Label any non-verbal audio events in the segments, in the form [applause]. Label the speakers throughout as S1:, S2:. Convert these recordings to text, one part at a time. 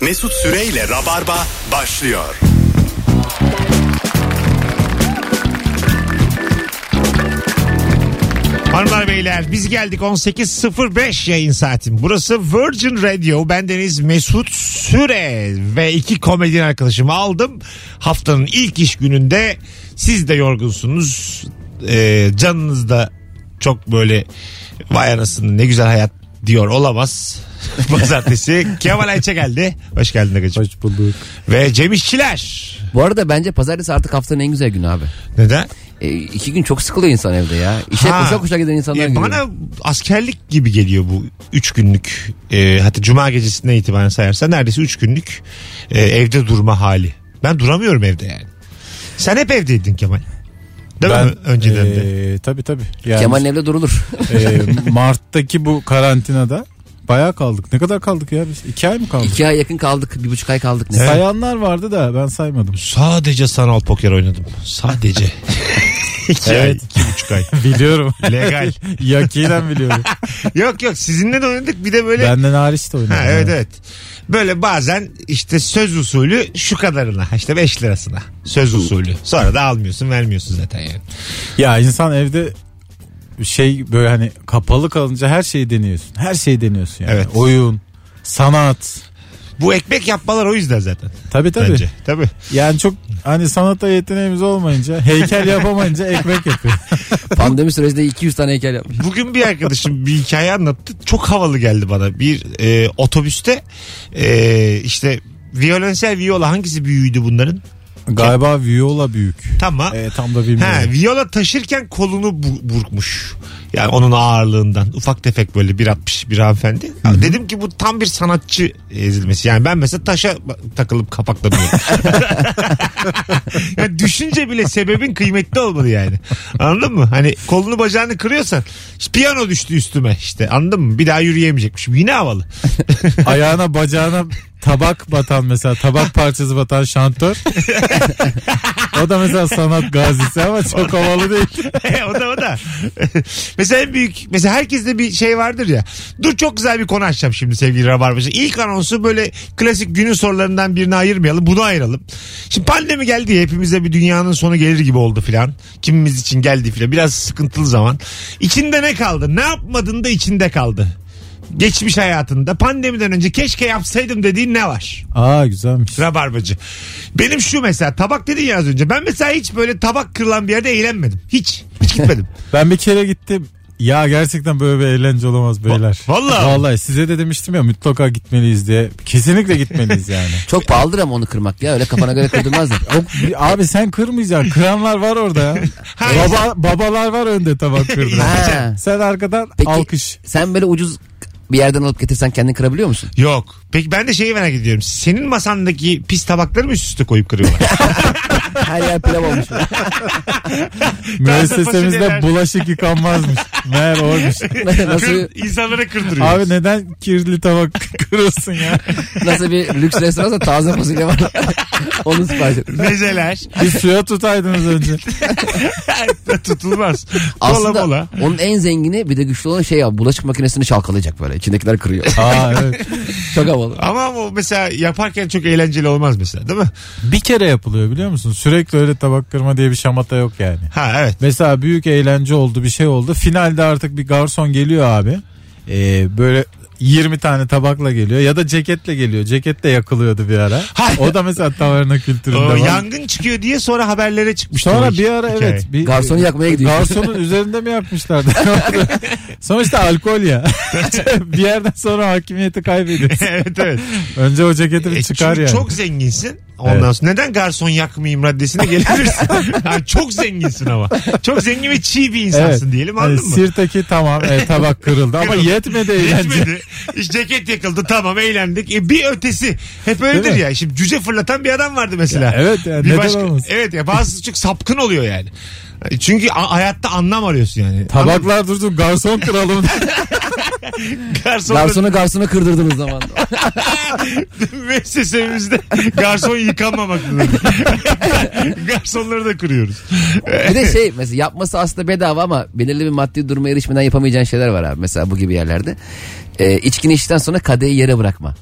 S1: Mesut Süreyle Rabarba başlıyor.
S2: Hanımlar beyler biz geldik 18.05 yayın saatim. Burası Virgin Radio. Ben Deniz Mesut Süre ve iki komedyen arkadaşımı aldım. Haftanın ilk iş gününde siz de yorgunsunuz. Ee, canınız da çok böyle vay anasını ne güzel hayat diyor olamaz. [laughs] Pazartesi Kemal Ayça geldi. Hoş geldin Agacığım.
S3: Hoş bulduk.
S2: Ve Cem İşçiler.
S3: Bu arada bence pazartesi artık haftanın en güzel günü abi.
S2: Neden?
S3: E, iki gün çok sıkılıyor insan evde ya. İşe
S2: Ha.
S3: koşa koşa giden insanlar
S2: Ya
S3: gibi.
S2: E, bana askerlik gibi geliyor bu 3 günlük e, hatta cuma gecesinden itibaren sayarsan neredeyse 3 günlük e, evde durma hali. Ben duramıyorum evde yani. Sen hep evdeydin Kemal. Değil mi önceden de?
S4: eee, Tabii tabii. Yani,
S3: Kemal'in
S2: [laughs]
S3: evde durulur.
S4: eee, Mart'taki bu karantinada bayağı kaldık. Ne kadar kaldık ya biz? İki ay mı kaldık?
S3: İki ay yakın kaldık. Bir buçuk ay kaldık. Ne?
S4: Sayanlar vardı da
S2: [laughs]
S4: ben saymadım.
S2: Sadece sanal poker oynadım. Sadece. [laughs] İki ay, iki buçuk ay.
S4: Biliyorum.
S2: Legal.
S4: [laughs]
S2: [laughs]
S4: Yakinen biliyorum.
S2: yok yok sizinle de oynadık bir de böyle.
S4: Benden hariç de oynadım.
S2: Ha, evet evet. Böyle bazen işte söz usulü şu kadarına işte 5 lirasına söz usulü. Sonra da almıyorsun vermiyorsun zaten yani.
S4: Ya insan evde şey böyle hani kapalı kalınca her şeyi deniyorsun. Her şeyi deniyorsun yani.
S2: Evet.
S4: Oyun, sanat.
S2: Bu ekmek yapmalar o yüzden zaten.
S4: Tabii tabii.
S2: Bence. Tabii.
S4: Yani çok hani sanata yeteneğimiz olmayınca, heykel yapamayınca
S2: [laughs]
S4: ekmek yapıyor.
S3: Pandemi sürecinde 200 tane heykel yapmış.
S2: Bugün bir arkadaşım bir hikaye anlattı. Çok havalı geldi bana. Bir e, otobüste e, işte violensel viola hangisi büyüğüydü bunların?
S4: Galiba viola büyük.
S2: Tamam.
S4: Eee, Ee, tam da
S2: Ha,
S4: bilmiyorum.
S2: viola taşırken kolunu bu- burkmuş. Yani onun ağırlığından. Ufak tefek böyle 1.60 bir hanımefendi. Dedim ki bu tam bir sanatçı ezilmesi. Yani ben mesela taşa ba- takılıp kapaklanıyorum. [laughs] yani düşünce bile sebebin kıymetli olmalı yani. Anladın mı? Hani kolunu bacağını kırıyorsan işte piyano düştü üstüme işte. Anladın mı? Bir daha yürüyemeyecekmişim. Yine havalı.
S4: ayağına bacağına tabak batan mesela tabak parçası batan şantör. o da mesela sanat gazisi ama çok havalı değil.
S2: [laughs] o da o da. mesela en büyük mesela herkeste bir şey vardır ya. Dur çok güzel bir konu açacağım şimdi sevgili Rabarbacı. İlk anonsu böyle klasik günün sorularından birini ayırmayalım. Bunu ayıralım. Şimdi pandemi geldi ya hepimize bir dünyanın sonu gelir gibi oldu filan. Kimimiz için geldi filan. Biraz sıkıntılı zaman. İçinde ne kaldı? Ne yapmadın da içinde kaldı? Geçmiş hayatında pandemiden önce keşke yapsaydım dediğin ne var?
S4: Aa güzelmiş.
S2: Rabarbacı. Benim şu mesela tabak dedin ya az önce. Ben mesela hiç böyle tabak kırılan bir yerde eğlenmedim. Hiç. Hiç gitmedim.
S4: Ben bir kere gittim. Ya gerçekten böyle bir eğlence olamaz beyler.
S2: vallahi.
S4: Vallahi size de demiştim ya mutlaka gitmeliyiz diye. Kesinlikle gitmeliyiz yani.
S3: Çok pahalıdır ama onu kırmak ya. Öyle kafana göre kırdırmazlar.
S4: Bir- Abi sen kırmayacaksın. Kıranlar var orada ya. Baba, babalar var önde tabak kırdılar.
S3: Ha.
S4: sen arkadan
S3: Peki
S4: alkış.
S3: sen böyle ucuz bir yerden alıp getirsen kendini kırabiliyor musun?
S2: Yok. Peki ben de şeyi merak ediyorum. Senin masandaki pis tabakları mı üst üste koyup
S4: [laughs]
S2: kırıyorlar?
S3: Her yer pilav olmuş.
S4: Müessesemizde
S2: fasulyeler.
S4: bulaşık yıkanmazmış. Meğer oymuş.
S3: nasıl,
S2: Kır, insanlara kırdırıyor.
S4: Abi neden kirli tabak [laughs] kırılsın ya?
S3: nasıl bir lüks restoransa taze fasulye var. [laughs] onu sipariş et.
S2: Mezeler [laughs]
S4: Bir suya tutaydınız önce.
S2: tutulmaz. Kola
S3: Aslında
S2: mola.
S3: onun en zengini bir de güçlü olan şey ya bulaşık makinesini çalkalayacak böyle. İçindekiler kırıyor.
S4: [laughs] Aa evet.
S3: Çok havalı.
S2: Ama bu mesela yaparken çok eğlenceli olmaz mesela değil mi?
S4: Bir kere yapılıyor biliyor musun? Sürekli öyle tabak kırma diye bir şamata yok yani.
S2: Ha evet.
S4: Mesela büyük eğlence oldu bir şey oldu. Finalde artık bir garson geliyor abi. Ee, böyle 20 tane tabakla geliyor ya da ceketle geliyor. Ceketle yakılıyordu bir ara.
S2: Hayır.
S4: O da mesela taverna kültüründe
S2: O,
S4: var.
S2: yangın çıkıyor diye sonra haberlere çıkmış.
S4: Sonra
S2: demek
S4: bir ara
S2: hikaye.
S4: evet. Bir,
S3: Garsonu yakmaya gidiyor.
S4: [laughs] Garsonun üzerinde mi yapmışlardı? Sonuçta alkol ya. [laughs] bir yerden sonra hakimiyeti kaybediyorsun.
S2: [laughs] evet
S4: [laughs]
S2: evet.
S4: Önce o ceketi bir
S2: E,
S4: çıkar
S2: çünkü
S4: yani.
S2: Çok zenginsin. Ondan
S4: Evet.
S2: sonra neden garson yakmayayım maddesine gelebilirsin. [laughs] yani çok zenginsin ama. Çok zengin ve çiğ bir insansın diyelim
S4: Hani
S2: anladın mı?
S4: Sirtaki tamam e, tabak kırıldı ama
S2: Kırıldı.
S4: yetmedi eğlence.
S2: Geçmedi. İşte ceket yakıldı tamam eğlendik. E, bir ötesi hep öyledir
S4: mi?
S2: ya. Şimdi cüce fırlatan bir adam vardı mesela.
S4: Ya evet ya,
S2: Bir
S4: neden olmasın?
S2: Evet ya bazısı çok sapkın oluyor yani. Çünkü a- hayatta anlam arıyorsun yani. Anladın mı?
S4: Tabaklar dursun
S2: [laughs]
S4: garson kıralım.
S2: Garson
S3: Garsonu garsonu kırdırdınız zaman.
S2: [laughs] müessesemizde garson
S4: [laughs]
S2: yıkanmamaktadır. Garsonları da kırıyoruz.
S3: [laughs] bir de şey mesela yapması aslında bedava ama belirli bir maddi duruma erişmeden yapamayacağın şeyler var abi. Mesela bu gibi yerlerde. Ee, içkini içtikten sonra kadehi yere bırakma.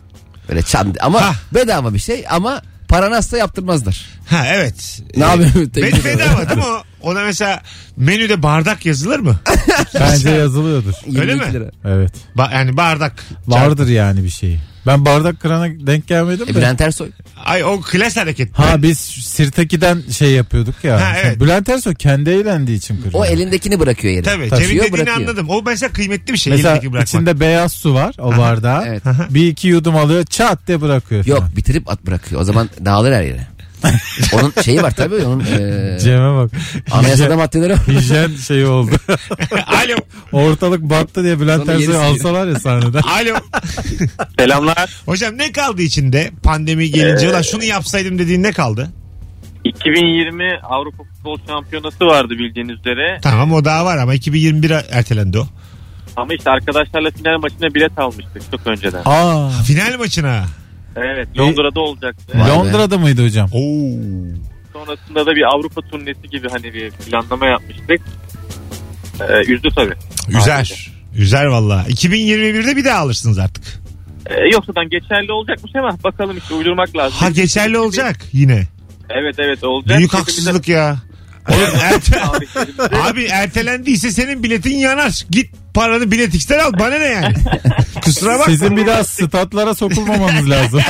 S3: Böyle çan ama
S2: Hah.
S3: bedava bir şey ama paran azsa yaptırmazlar. Ee,
S2: Ha evet.
S3: Ne yapıyorsun?
S2: Be- bedava değil mi o? Ona mesela menüde bardak yazılır mı?
S4: Bence yazılıyordur.
S3: 22
S2: Öyle mi?
S3: lira.
S4: Evet.
S2: Ba- yani bardak.
S4: Vardır yani bir şeyi. Ben bardak kırana denk gelmedim de.
S3: E, Bülent Ersoy.
S2: Ay o klas hareket.
S4: Ha biz Sirteki'den şey yapıyorduk ya.
S2: Ha, evet.
S4: Bülent Ersoy kendi eğlendiği için kırıyor.
S3: O elindekini bırakıyor yerine.
S2: Tabii.
S3: Taşıyor,
S2: Cemil dediğini
S3: bırakıyor.
S2: anladım. O mesela kıymetli bir şey.
S4: Mesela
S2: elindeki bırakmak.
S4: içinde beyaz su var o bardağa.
S3: evet.
S4: Bir iki yudum alıyor çat diye bırakıyor.
S3: Yok
S4: falan.
S3: bitirip at bırakıyor. O zaman dağılır her yere. onun şeyi var tabii onun e,
S4: Cem'e bak.
S3: anayasada maddeleri var.
S4: Hijyen şeyi oldu.
S2: [laughs] [laughs] Alo.
S4: Ortalık battı diye Bülent
S3: Sonra
S4: Ersoy'u
S3: gerisi-
S4: alsalar ya sahneden.
S2: Alo.
S5: Selamlar.
S2: Hocam ne kaldı içinde? Pandemi gelince ulan şunu yapsaydım dediğin ne kaldı?
S5: 2020 Avrupa Futbol Şampiyonası vardı bildiğiniz üzere.
S2: Tamam o daha var ama 2021 ertelendi o.
S5: Ama işte arkadaşlarla final maçına bilet almıştık çok önceden.
S4: [laughs] Aa,
S2: Final maçına.
S5: Evet Londra'da olacaktı.
S3: Vay be.
S4: Londra'da mıydı hocam?
S2: Oo.
S5: Sonrasında da bir Avrupa turnesi gibi hani bir planlama yapmıştık. Ee, üzdü tabii.
S2: Üzer. Üzer valla. 2021'de bir daha alırsınız artık.
S5: Ee, yoksa geçerli olacakmış ama bakalım işte uydurmak lazım.
S2: Ha geçerli olacak yine.
S5: Evet evet olacak.
S2: Büyük
S5: Hepimiz-
S2: haksızlık ya. [laughs] Oğlum erte-
S5: Tarihlerimizi-
S2: Abi ertelendiyse senin biletin yanar. Git paranı bilet X'ten al. Bana ne
S4: [laughs]
S2: yani? Kusura bakma.
S4: Sizin biraz statlara [laughs] sokulmamanız lazım.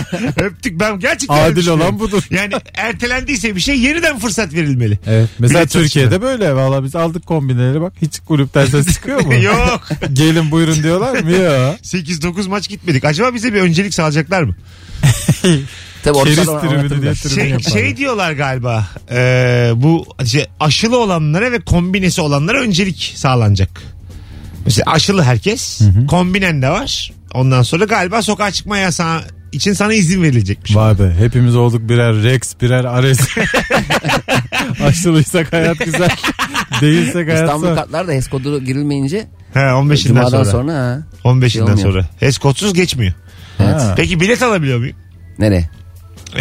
S2: Öptük ben gerçekten öyle
S4: Adil
S2: düşünüyorum.
S4: olan budur.
S2: Yani ertelendiyse bir şey yeniden fırsat verilmeli.
S4: Evet. Mesela
S2: Bilet
S4: Türkiye'de böyle. Valla biz aldık kombineleri bak. Hiç kulüpten ses çıkıyor [laughs] mu?
S2: E, Yok. [laughs]
S4: Gelin buyurun diyorlar mı? Yok.
S2: 8-9 maç gitmedik. Acaba bize bir öncelik sağlayacaklar mı?
S3: Tabii ortada
S4: Keriz
S3: onu
S4: tribünü diye
S3: anlatırlar.
S4: tribün
S2: Şey,
S4: yaparlar.
S2: şey diyorlar galiba. e, bu şey, aşılı olanlara ve kombinesi olanlara öncelik sağlanacak. Mesela aşılı herkes. Kombinen de var. Ondan sonra galiba sokağa çıkma yasağı için sana izin verilecekmiş.
S4: Vay be hepimiz olduk birer Rex birer Ares. [laughs] Aşılıysak hayat güzel. Değilsek hayat
S3: İstanbul
S4: zor.
S3: katlar da HES kodu girilmeyince
S2: He 15'inden
S3: Cuma'dan
S2: sonra.
S3: sonra, ha.
S2: 15'inden
S3: Şey olmuyor.
S2: sonra. Eskotsuz geçmiyor.
S3: Evet.
S4: Ha.
S2: Peki bilet alabiliyor muyum?
S3: Nereye?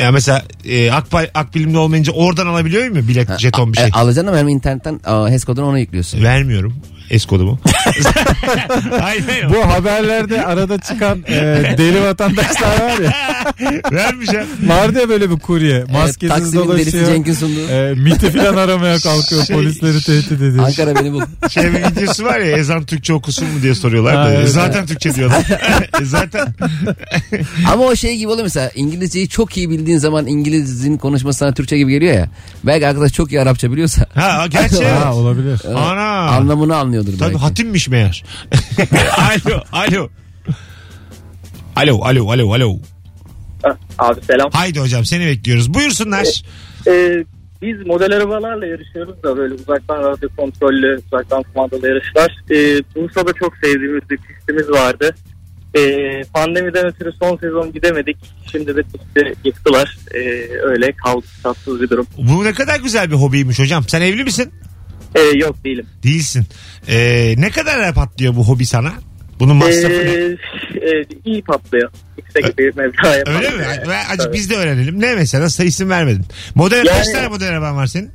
S2: Ya mesela e, Akpa- Akbilim'de olmayınca oradan alabiliyor muyum bilet, jeton bir şey? E,
S3: E, alacaksın ama hem internetten aa, HES kodunu ona yüklüyorsun.
S2: Vermiyorum. Es
S4: [laughs]
S2: kodumu. hayır hayır.
S4: Bu haberlerde arada çıkan e, deli vatandaşlar var ya.
S2: Vermiş ya.
S4: Vardı ya böyle bir kurye.
S3: Evet,
S4: Maskesiz
S3: E, Taksim'in delisi
S4: dolaşıyor.
S3: Cenk'in sunduğu.
S4: E, miti falan aramaya kalkıyor.
S2: Şey-
S4: Polisleri tehdit ediyor.
S3: Ankara
S2: [laughs]
S3: beni bul.
S2: Şey bir videosu var ya ezan Türkçe okusun mu diye soruyorlar da.
S4: Ha, evet.
S2: Zaten Türkçe diyor
S4: [laughs]
S2: adam. E, Zaten.
S3: Ama o şey gibi oluyor mesela İngilizceyi çok iyi bildiğin zaman İngiliz'in konuşması sana Türkçe gibi geliyor ya. Belki arkadaş çok iyi Arapça biliyorsa
S2: Ha gerçi
S4: Ha,
S2: evet.
S4: olabilir.
S2: Ana.
S3: anlamını anlıyordur
S2: Tabii
S3: belki.
S2: hatimmiş meğer. [laughs] alo alo. Alo alo alo alo.
S6: [laughs] Abi selam.
S2: Haydi hocam seni bekliyoruz. Buyursunlar.
S6: Ee, biz model arabalarla yarışıyoruz da böyle uzaktan radyo kontrollü, uzaktan kumandalı yarışlar. Ee, Bursa'da çok sevdiğimiz bir pistimiz vardı. Ee, pandemiden ötürü son sezon gidemedik. Şimdi de pisti yıktılar. Ee, öyle kaldı tatsız bir durum.
S2: Bu ne kadar güzel bir hobiymiş hocam. Sen evli misin?
S6: Ee, yok değilim.
S2: Değilsin. Ee, ne kadar patlıyor bu hobi sana? Bunun masrafı ne?
S6: Ee, e, iyi patlıyor. Yüksek bir mevla yapalım.
S2: Öyle mi?
S6: Ee,
S2: Ve Acık
S6: tabii.
S2: biz de öğrenelim. Ne mesela? Sayı isim vermedin. Model kaç
S6: Yani-
S2: tane model araban var senin?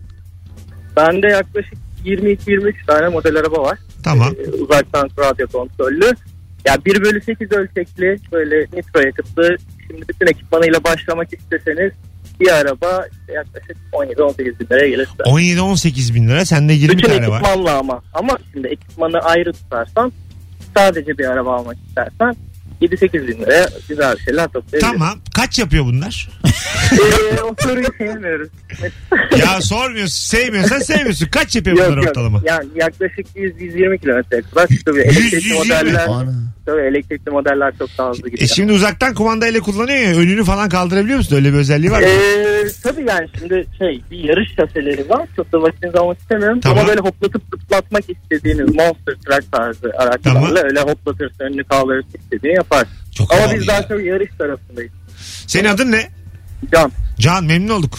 S6: Bende yaklaşık 22-23 tane model araba var.
S2: Tamam.
S6: Ee, uzaktan radyo kontrollü. Ya 1 bölü 8 ölçekli böyle nitro yakıtlı. Şimdi bütün ekipmanıyla başlamak isteseniz bir araba işte yaklaşık 17-18 bin liraya gelir.
S2: Ee, 17-18 bin lira. Sende 20
S6: Bütün
S2: tane var.
S6: ekipmanla ama. Ama şimdi ekipmanı ayrı tutarsan sadece bir araba almak istersen 7-8 bin liraya güzel bir şeyler toplayabilirsin.
S2: Tamam. Kaç yapıyor bunlar?
S6: [laughs] Ee, o soruyu
S2: [laughs]
S6: sevmiyoruz.
S2: ya sormuyorsun. Sevmiyorsan sevmiyorsun. Kaç yapıyor bunlar
S6: yok
S2: ortalama?
S6: yok. Yani yaklaşık 100-120 kilometreye kadar.
S2: 100,
S6: Tabii elektrikli
S2: 120.
S6: modeller,
S3: Ana.
S6: tabii elektrikli modeller çok daha hızlı gidiyor.
S2: E şimdi uzaktan kumandayla kullanıyor ya. Önünü falan kaldırabiliyor musun? Öyle bir özelliği var mı? [laughs]
S6: Ee, tabii yani şimdi şey bir yarış şaseleri var. Çok da vaktinizi almak istemiyorum.
S2: Tamam.
S6: Ama böyle hoplatıp zıplatmak istediğiniz monster truck tarzı araçlarla
S2: Tamam.
S6: öyle hoplatırsın önünü kaldırırsın istediğini yapar.
S2: Çok
S6: Ama
S2: havalı
S6: biz
S2: ya.
S6: daha çok yarış tarafındayız.
S2: Senin adın ne?
S6: Can
S2: Can memnun olduk.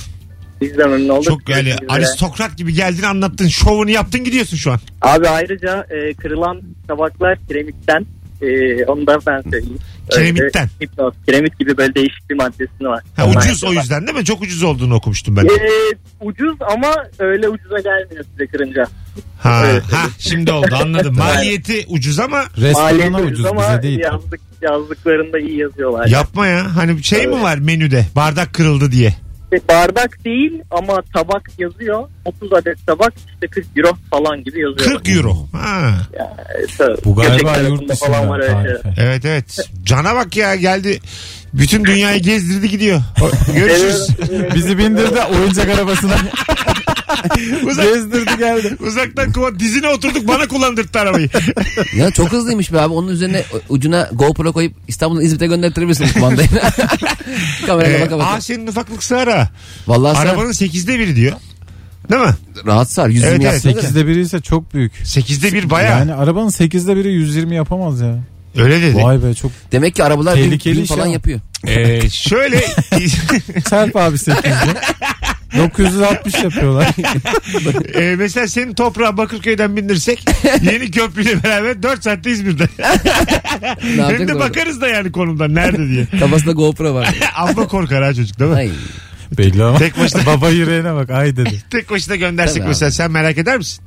S6: biz de memnun olduk.
S2: Çok yani
S6: Görüşmek üzere.
S2: aristokrat gibi geldin anlattın. Şovunu yaptın gidiyorsun şu an.
S6: Abi ayrıca e, kırılan tabaklar kiremitten Ee, onu da ben söyleyeyim.
S2: Kiremitten.
S6: Önce hipnoz, kiremit gibi böyle değişik bir maddesini var.
S2: Ha, ucuz o yüzden değil mi? Çok ucuz olduğunu okumuştum ben.
S6: Ee, ucuz ama öyle ucuza gelmiyor size kırınca.
S2: Ha,
S6: evet,
S2: ha şimdi oldu anladım. Maliyeti ucuz ama
S4: Restorana
S6: Maliyeti
S4: ucuz
S6: ama
S4: bize değil.
S6: Yazdık, yazdıklarında iyi yazıyorlar.
S2: yapma ya. Hani şey mi var menüde? Bardak kırıldı diye.
S6: İşte Şey, bardak değil ama tabak yazıyor. 30 adet tabak işte 40 euro falan gibi yazıyor.
S2: 40 euro. Ha.
S6: İşte
S4: Bu galiba
S6: köşek tarafında
S4: yurt dışında
S6: falan var öyle şeyler.
S4: tarifi.
S2: Evet evet. Cana bak ya geldi. Bütün dünyayı gezdirdi gidiyor. Görüşürüz.
S4: [laughs] Bizi bindirdi oyuncak arabasına.
S2: Uzak,
S4: Gezdirdi geldi.
S2: [laughs] uzaktan kuma dizine oturduk bana kullandırttı arabayı.
S3: [laughs] Ya çok hızlıymış be abi. Onun üzerine ucuna GoPro koyup İstanbul'dan İzmit'e
S2: [laughs]
S3: göndertirebilirsin [laughs] kumandayı. Kameraya
S2: ee,
S3: baka baka.
S2: aa senin ufaklık sığar ha.
S3: Vallahi sen
S2: Arabanın 8'de biri diyor. Değil mi?
S3: rahat sar. 120
S2: Evet,
S3: evet,
S2: evet.
S4: Sekizde biri ise çok büyük.
S2: 8'de bir bayağı.
S4: Yani arabanın sekizde biri 120 yapamaz ya.
S2: Öyle dedi.
S4: Vay be çok.
S3: Demek ki arabalar bin,
S4: Tehlikeli
S3: bin
S4: iş
S3: falan
S4: ama.
S3: yapıyor.
S2: Ee, şöyle [laughs]
S4: Serp abi sekizde. 960 yapıyorlar.
S2: e, mesela senin toprağa Bakırköy'den bindirsek yeni köprüyle beraber 4 saatte İzmir'de.
S3: Ne
S2: [laughs] Hem
S3: yapacak
S2: de
S3: orada?
S2: bakarız da yani konumdan nerede diye.
S3: Kafasında GoPro
S2: [laughs]
S3: var.
S2: Abla korkar ha çocuk değil mi?
S3: Ay. [laughs]
S4: Belli ama.
S2: Tek başına-
S4: Baba yüreğine bak ay
S2: [laughs]
S4: dedi.
S2: Tek başına göndersek
S3: Tabii abi.
S2: mesela sen merak eder misin?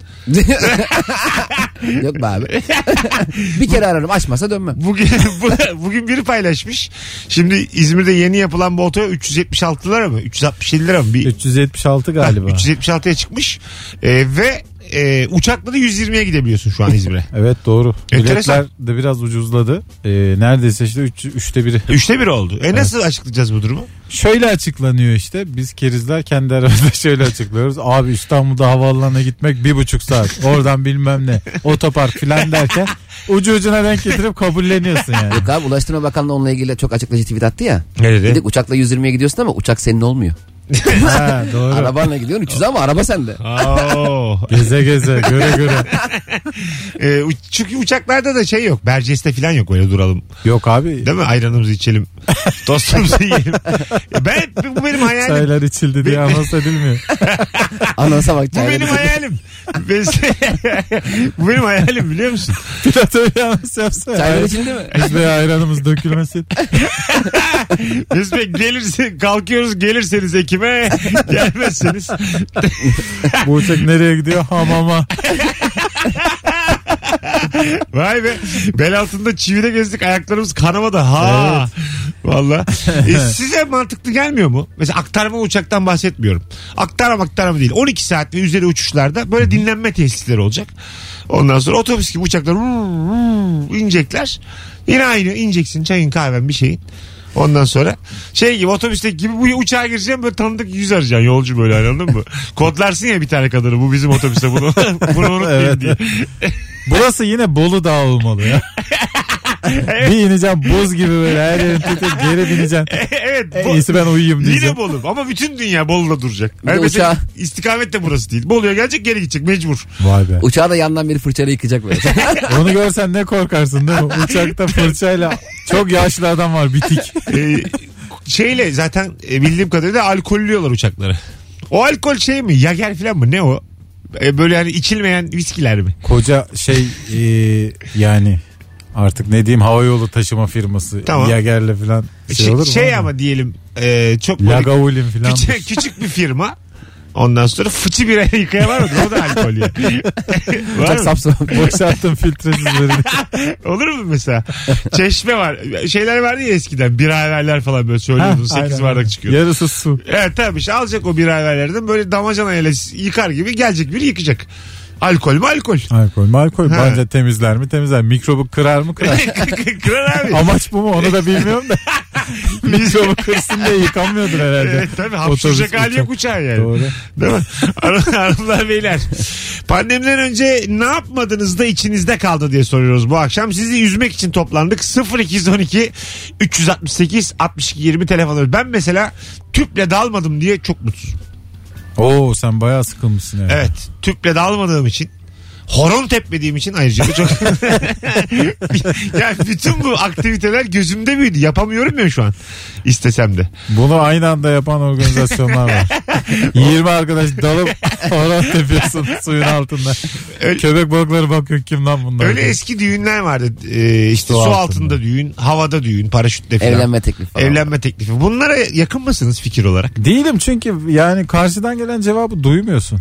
S3: Yok be abi. [laughs] bir kere ararım açmasa dönmem.
S2: Bugün [laughs] bu- bugün biri paylaşmış. Şimdi İzmir'de yeni yapılan bu otoyol 376 lira mı? 367 lira mı? Bir,
S4: 376 galiba.
S2: 376'ya çıkmış. Ee, ve e, uçakla da 120'ye gidebiliyorsun şu an İzmir'e.
S4: Evet doğru.
S2: Enteresan.
S4: Biletler de biraz ucuzladı. Ee, neredeyse işte 3 üçte biri. [laughs]
S2: Üçte bir oldu. E nasıl açıklayacağız bu durumu?
S4: Şöyle açıklanıyor işte. Biz kerizler kendi aramızda [laughs] şöyle açıklıyoruz. Abi İstanbul'da havaalanına gitmek bir buçuk saat. Oradan bilmem ne. Otopark filan derken ucu ucuna denk getirip kabulleniyorsun yani.
S3: Yok abi Ulaştırma Bakanlığı onunla ilgili çok açıklayıcı tweet attı ya.
S2: Ne
S3: Bir de uçakla 120'ye gidiyorsun ama uçak senin olmuyor.
S4: ha, doğru.
S3: Arabanla gidiyorsun 300 ama
S4: [laughs]
S3: araba sende.
S2: Oo.
S3: Oh.
S4: Geze geze göre göre.
S2: Ee, u- çünkü uçaklarda da şey yok. Berceste falan yok öyle duralım.
S4: Yok abi.
S2: Değil mi? Ayranımızı içelim. Tostumuzu yiyelim. E ben bu benim hayalim.
S4: Çaylar içildi diye anons edilmiyor.
S3: Anonsa bak
S2: Bu benim
S3: çayla.
S2: hayalim. Ben- [laughs] bu benim hayalim biliyor musun?
S4: Pilot öyle anons yapsa.
S3: Çaylar
S4: Ay-
S3: içildi mi?
S4: Biz de ayranımız dökülmesin.
S2: Mesut gelirse kalkıyoruz gelirseniz ekime [laughs] gelmezseniz.
S4: Bu uçak nereye gidiyor? Hamama.
S2: Vay be. Bel altında çivide gezdik ayaklarımız kanamadı. Ha. Valla.
S4: [laughs]
S2: E, size mantıklı gelmiyor mu? Mesela aktarma uçaktan bahsetmiyorum. Aktarma aktarma değil. 12 saat ve üzeri uçuşlarda böyle dinlenme tesisleri olacak. Ondan sonra otobüs gibi uçaklar vuu, vuu inecekler. Yine aynı ineceksin çayın kahven bir şeyin. Ondan sonra şey gibi otobüsteki gibi bu uçağa gireceğim böyle tanıdık yüz arayacaksın yolcu böyle hani,
S4: [laughs]
S2: anladın mı? Kodlarsın ya bir tane kadını bu bizim otobüste bunu, [laughs] bunu unutmayın
S4: Evet.
S2: diye. [laughs]
S4: Burası yine Bolu Dağı olmalı ya. Bir ineceğim buz gibi böyle her yerin tutup geri bineceğim.
S2: evet.
S4: En
S2: bu-
S4: iyisi ben uyuyayım
S2: Yine
S4: diyeceğim.
S2: Bolu ama bütün dünya Bolu'da duracak.
S3: de
S2: Yani mesela
S3: uçağı-
S2: istikamet de burası değil. Bolu'ya gelecek geri gidecek
S4: [laughs]
S2: mecbur.
S4: Vay be.
S3: Uçağı da yandan bir fırçayla
S2: [laughs]
S3: yıkacak böyle.
S4: Onu görsen ne korkarsın değil mi? Uçakta fırçayla çok yaşlı adam var bitik.
S2: Ee, şeyle zaten e, bildiğim kadarıyla alkollüyorlar uçakları. O alkol şey mi? Yager falan mı? Ne o? E, böyle hani içilmeyen viskiler mi?
S4: Koca şey e, yani artık ne diyeyim havayolu taşıma firması.
S2: Tamam.
S4: Yager'le falan şey,
S2: Şey,
S4: olur mu?
S2: şey ama diyelim e, çok böyle
S4: Lagavulin falan.
S2: küçük, küçük bir firma. Ondan sonra fıçı bir [laughs] yıkayamar mı? O da alkol ya.
S4: [laughs]
S2: Var
S3: Uçak
S2: mı?
S3: sapsın.
S2: [laughs]
S4: Boşalttım filtresiz verini.
S2: Olur mu mesela? Çeşme var. Şeyler vardı ya eskiden. Biraverler falan böyle söylüyordun.
S4: Ha, aynen,
S2: 8 bardak
S4: aynen.
S2: çıkıyordu.
S4: Yarısı su.
S2: Evet tabii işte alacak o biraderlerden böyle damacanayla yıkar gibi gelecek biri yıkacak. Alkol mü alkol? [laughs]
S4: Alkol mü alkol.
S2: Ha.
S4: Bence temizler mi temizler. Mikrobu kırar mı kırar.
S2: Kırar abi.
S4: Amaç bu mu onu da [laughs] bilmiyorum da. Mikrobu kırsın diye yıkanmıyordur herhalde.
S2: Evet, tabii hapşuracak
S4: Otobüs,
S2: hali yok
S4: uçak.
S2: uçağın yani.
S4: Doğru.
S2: Değil mi? Hanım- Hanımlar beyler. Pandemiden önce ne yapmadınız da içinizde kaldı diye soruyoruz bu akşam. Sizi üzmek için toplandık. 0212 368 62 20 telefonu. Ben mesela tüple dalmadım diye çok mutsuzum.
S4: Oo sen bayağı sıkılmışsın herhalde.
S2: Evet. Tüple dalmadığım için Horon tepmediğim için ayrıca da [laughs] çok... yani bütün bu aktiviteler gözümde büyüdü. Yapamıyorum ya şu an. İstesem de.
S4: Bunu aynı anda yapan organizasyonlar [laughs] var. 20 arkadaş dalıp horon tepiyorsun suyun altında.
S2: Öyle-
S4: Köpek balıkları bakıyor kim lan bunlar.
S2: Öyle eski düğünler vardı. Ee, işte su,
S4: Su
S2: altında.
S4: altında.
S2: düğün, havada düğün, paraşütle falan.
S3: Evlenme teklifi falan.
S2: Evlenme teklifi. Bunlara yakın mısınız fikir olarak?
S4: Değilim çünkü yani karşıdan gelen cevabı duymuyorsun.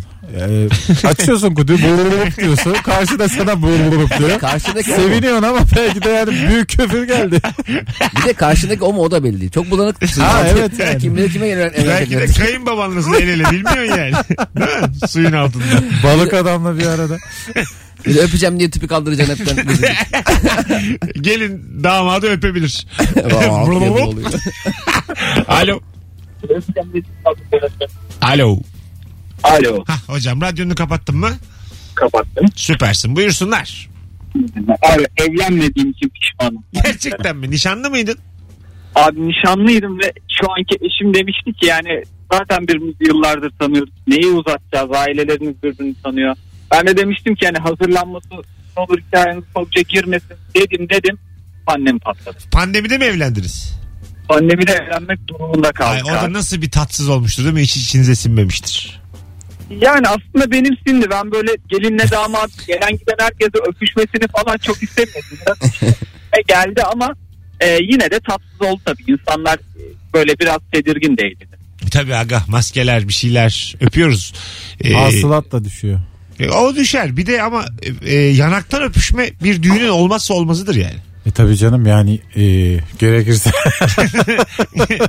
S4: Ee, açıyorsun kutuyu bululup diyorsun. Karşı da sana bululup diyor.
S3: Karşıdaki o mu?
S4: Seviniyorsun ama belki de yani büyük küfür geldi.
S3: Bir de karşındaki o mu o da belli değil. Çok bulanık.
S4: Ha, evet yani.
S3: Kim bilir kime evlen-
S2: Belki
S3: evlenecek.
S2: de kayınbabanızla el ele bilmiyorsun [laughs] yani. Değil mi? Suyun altında.
S4: Balık adamla bir arada.
S3: Bir de öpeceğim diye tüpü kaldıracaksın hepten.
S2: [laughs] Gelin damadı öpebilir. [laughs]
S3: Vah, afiyet oluyor.
S2: Alo. Alo.
S6: Alo
S2: Hah, hocam radyonu kapattın mı?
S6: kapattım.
S2: Süpersin. Buyursunlar.
S6: Abi evlenmediğim için pişmanım.
S2: Gerçekten mi? Nişanlı mıydın?
S6: Abi nişanlıydım ve şu anki eşim demişti ki yani zaten birbirimizi yıllardır tanıyoruz. Neyi uzatacağız? Ailelerimiz birbirini tanıyor. Ben de demiştim ki hani hazırlanması ne olur hikayeniz çokça girmesin dedim dedim. Annem patladı.
S2: Pandemide mi evlendiniz?
S6: Annemi de evlenmek durumunda
S2: Ay,
S6: kaldı.
S2: o da nasıl bir tatsız olmuştur değil mi? Hiç içinize sinmemiştir.
S6: Yani aslında benim sindi. Ben böyle gelinle damat gelen giden herkese öpüşmesini falan çok istemiyordum. Biraz işime geldi ama e, yine de tatsız oldu tabii. İnsanlar e, böyle biraz tedirgin değildi.
S2: E, Tabii aga maskeler bir şeyler öpüyoruz. Ee,
S4: Hasılat da düşüyor.
S2: e, o düşer. Bir de ama e, e, yanaktan öpüşme bir düğünün olmazsa olmazıdır yani. [laughs]
S4: E tabi canım yani e, gerekirse [laughs]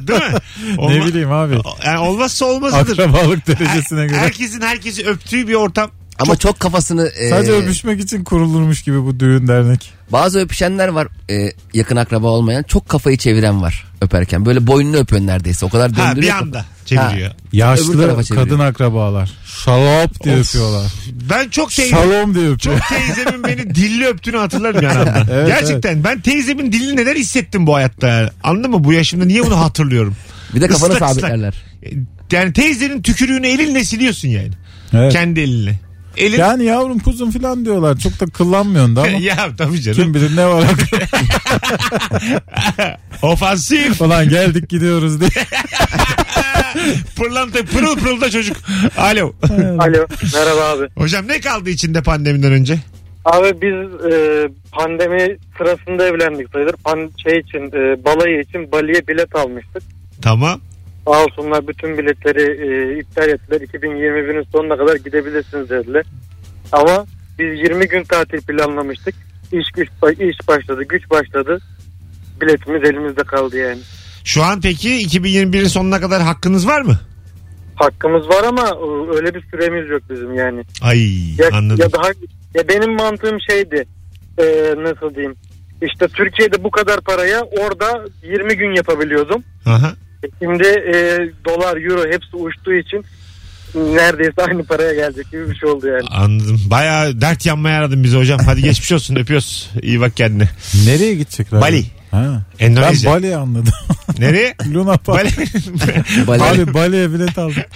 S2: değil mi?
S4: ne
S2: Olma-
S4: bileyim abi.
S2: Yani olmazsa olmazıdır.
S4: Akrabalık derecesine
S2: Her-
S4: göre.
S2: Herkesin herkesi öptüğü bir ortam.
S3: Ama çok kafasını... e,
S2: Ee.
S4: Sadece öpüşmek için kurulurmuş gibi bu düğün dernek.
S3: Bazı öpüşenler var e, yakın akraba olmayan. Çok kafayı çeviren var öperken. Böyle boynunu öpüyor neredeyse. O kadar döndürüyor.
S2: Ha, bir
S3: kafa-
S2: anda çeviriyor.
S3: Öbür tarafa
S4: Yaşlı
S3: çeviriyor.
S4: kadın akrabalar. Şalop diye öpüyorlar.
S2: Ben çok teyze,
S4: Şalom diye öpüyor.
S2: Şey-
S4: [laughs]
S2: çok teyzemin beni dilli öptüğünü hatırlarım yanımda.
S4: Evet,
S2: Gerçekten ben teyzemin dilini neden hissettim bu hayatta yani. Anladın mı? Bu yaşımda niye bunu hatırlıyorum?
S3: Bir de kafana
S2: Islak ıslak. E,
S3: sabitlerler.
S2: Yani teyzenin tükürüğünü elinle siliyorsun yani.
S4: Evet.
S2: Kendi elinle. Elin... [laughs]
S4: Yani yavrum kuzum falan diyorlar. Çok da kıllanmıyorsun da ama
S2: ya tabii canım.
S4: kim bilir ne var aklında
S2: Ofansif.
S4: falan geldik gidiyoruz
S2: [laughs]
S4: diye.
S2: Pırlanta pırıl pırıl da
S4: [laughs]
S2: çocuk. Alo.
S7: Alo merhaba abi.
S2: Hocam ne kaldı içinde pandemiden önce?
S7: Abi biz e, pandemi sırasında evlendik sayılır. Pan şey için e, balayı için Bali'ye bilet almıştık.
S2: Tamam.
S7: Sağ olsunlar bütün biletleri e, iptal ettiler. 2021'in sonuna kadar gidebilirsiniz dediler. Ama biz 20 gün tatil planlamıştık. İş, güç, iş başladı, güç başladı. Biletimiz elimizde kaldı yani.
S2: Şu an peki 2021'in sonuna kadar hakkınız var mı?
S7: Hakkımız var ama e, öyle bir süremiz yok bizim yani.
S2: Ay
S7: Ya,
S2: anladım.
S7: ya daha ya benim mantığım şeydi. e, nasıl diyeyim? İşte Türkiye'de bu kadar paraya orada 20 gün yapabiliyordum.
S2: Aha.
S7: E, Şimdi e, dolar, euro hepsi uçtuğu için neredeyse aynı paraya gelecek gibi bir şey oldu yani.
S2: Anladım. Bayağı dert yanmaya aradın bizi hocam. Hadi geçmiş olsun öpüyoruz. İyi bak kendine.
S4: Nereye gidecekler?
S2: Bali.
S4: Ha. Ben
S2: Endonezya.
S4: Bali anladım. [laughs]
S2: Nereye?
S4: Luna Park.
S2: Bali. [laughs]
S3: Bali-
S4: Abi Bali'ye bilet aldık.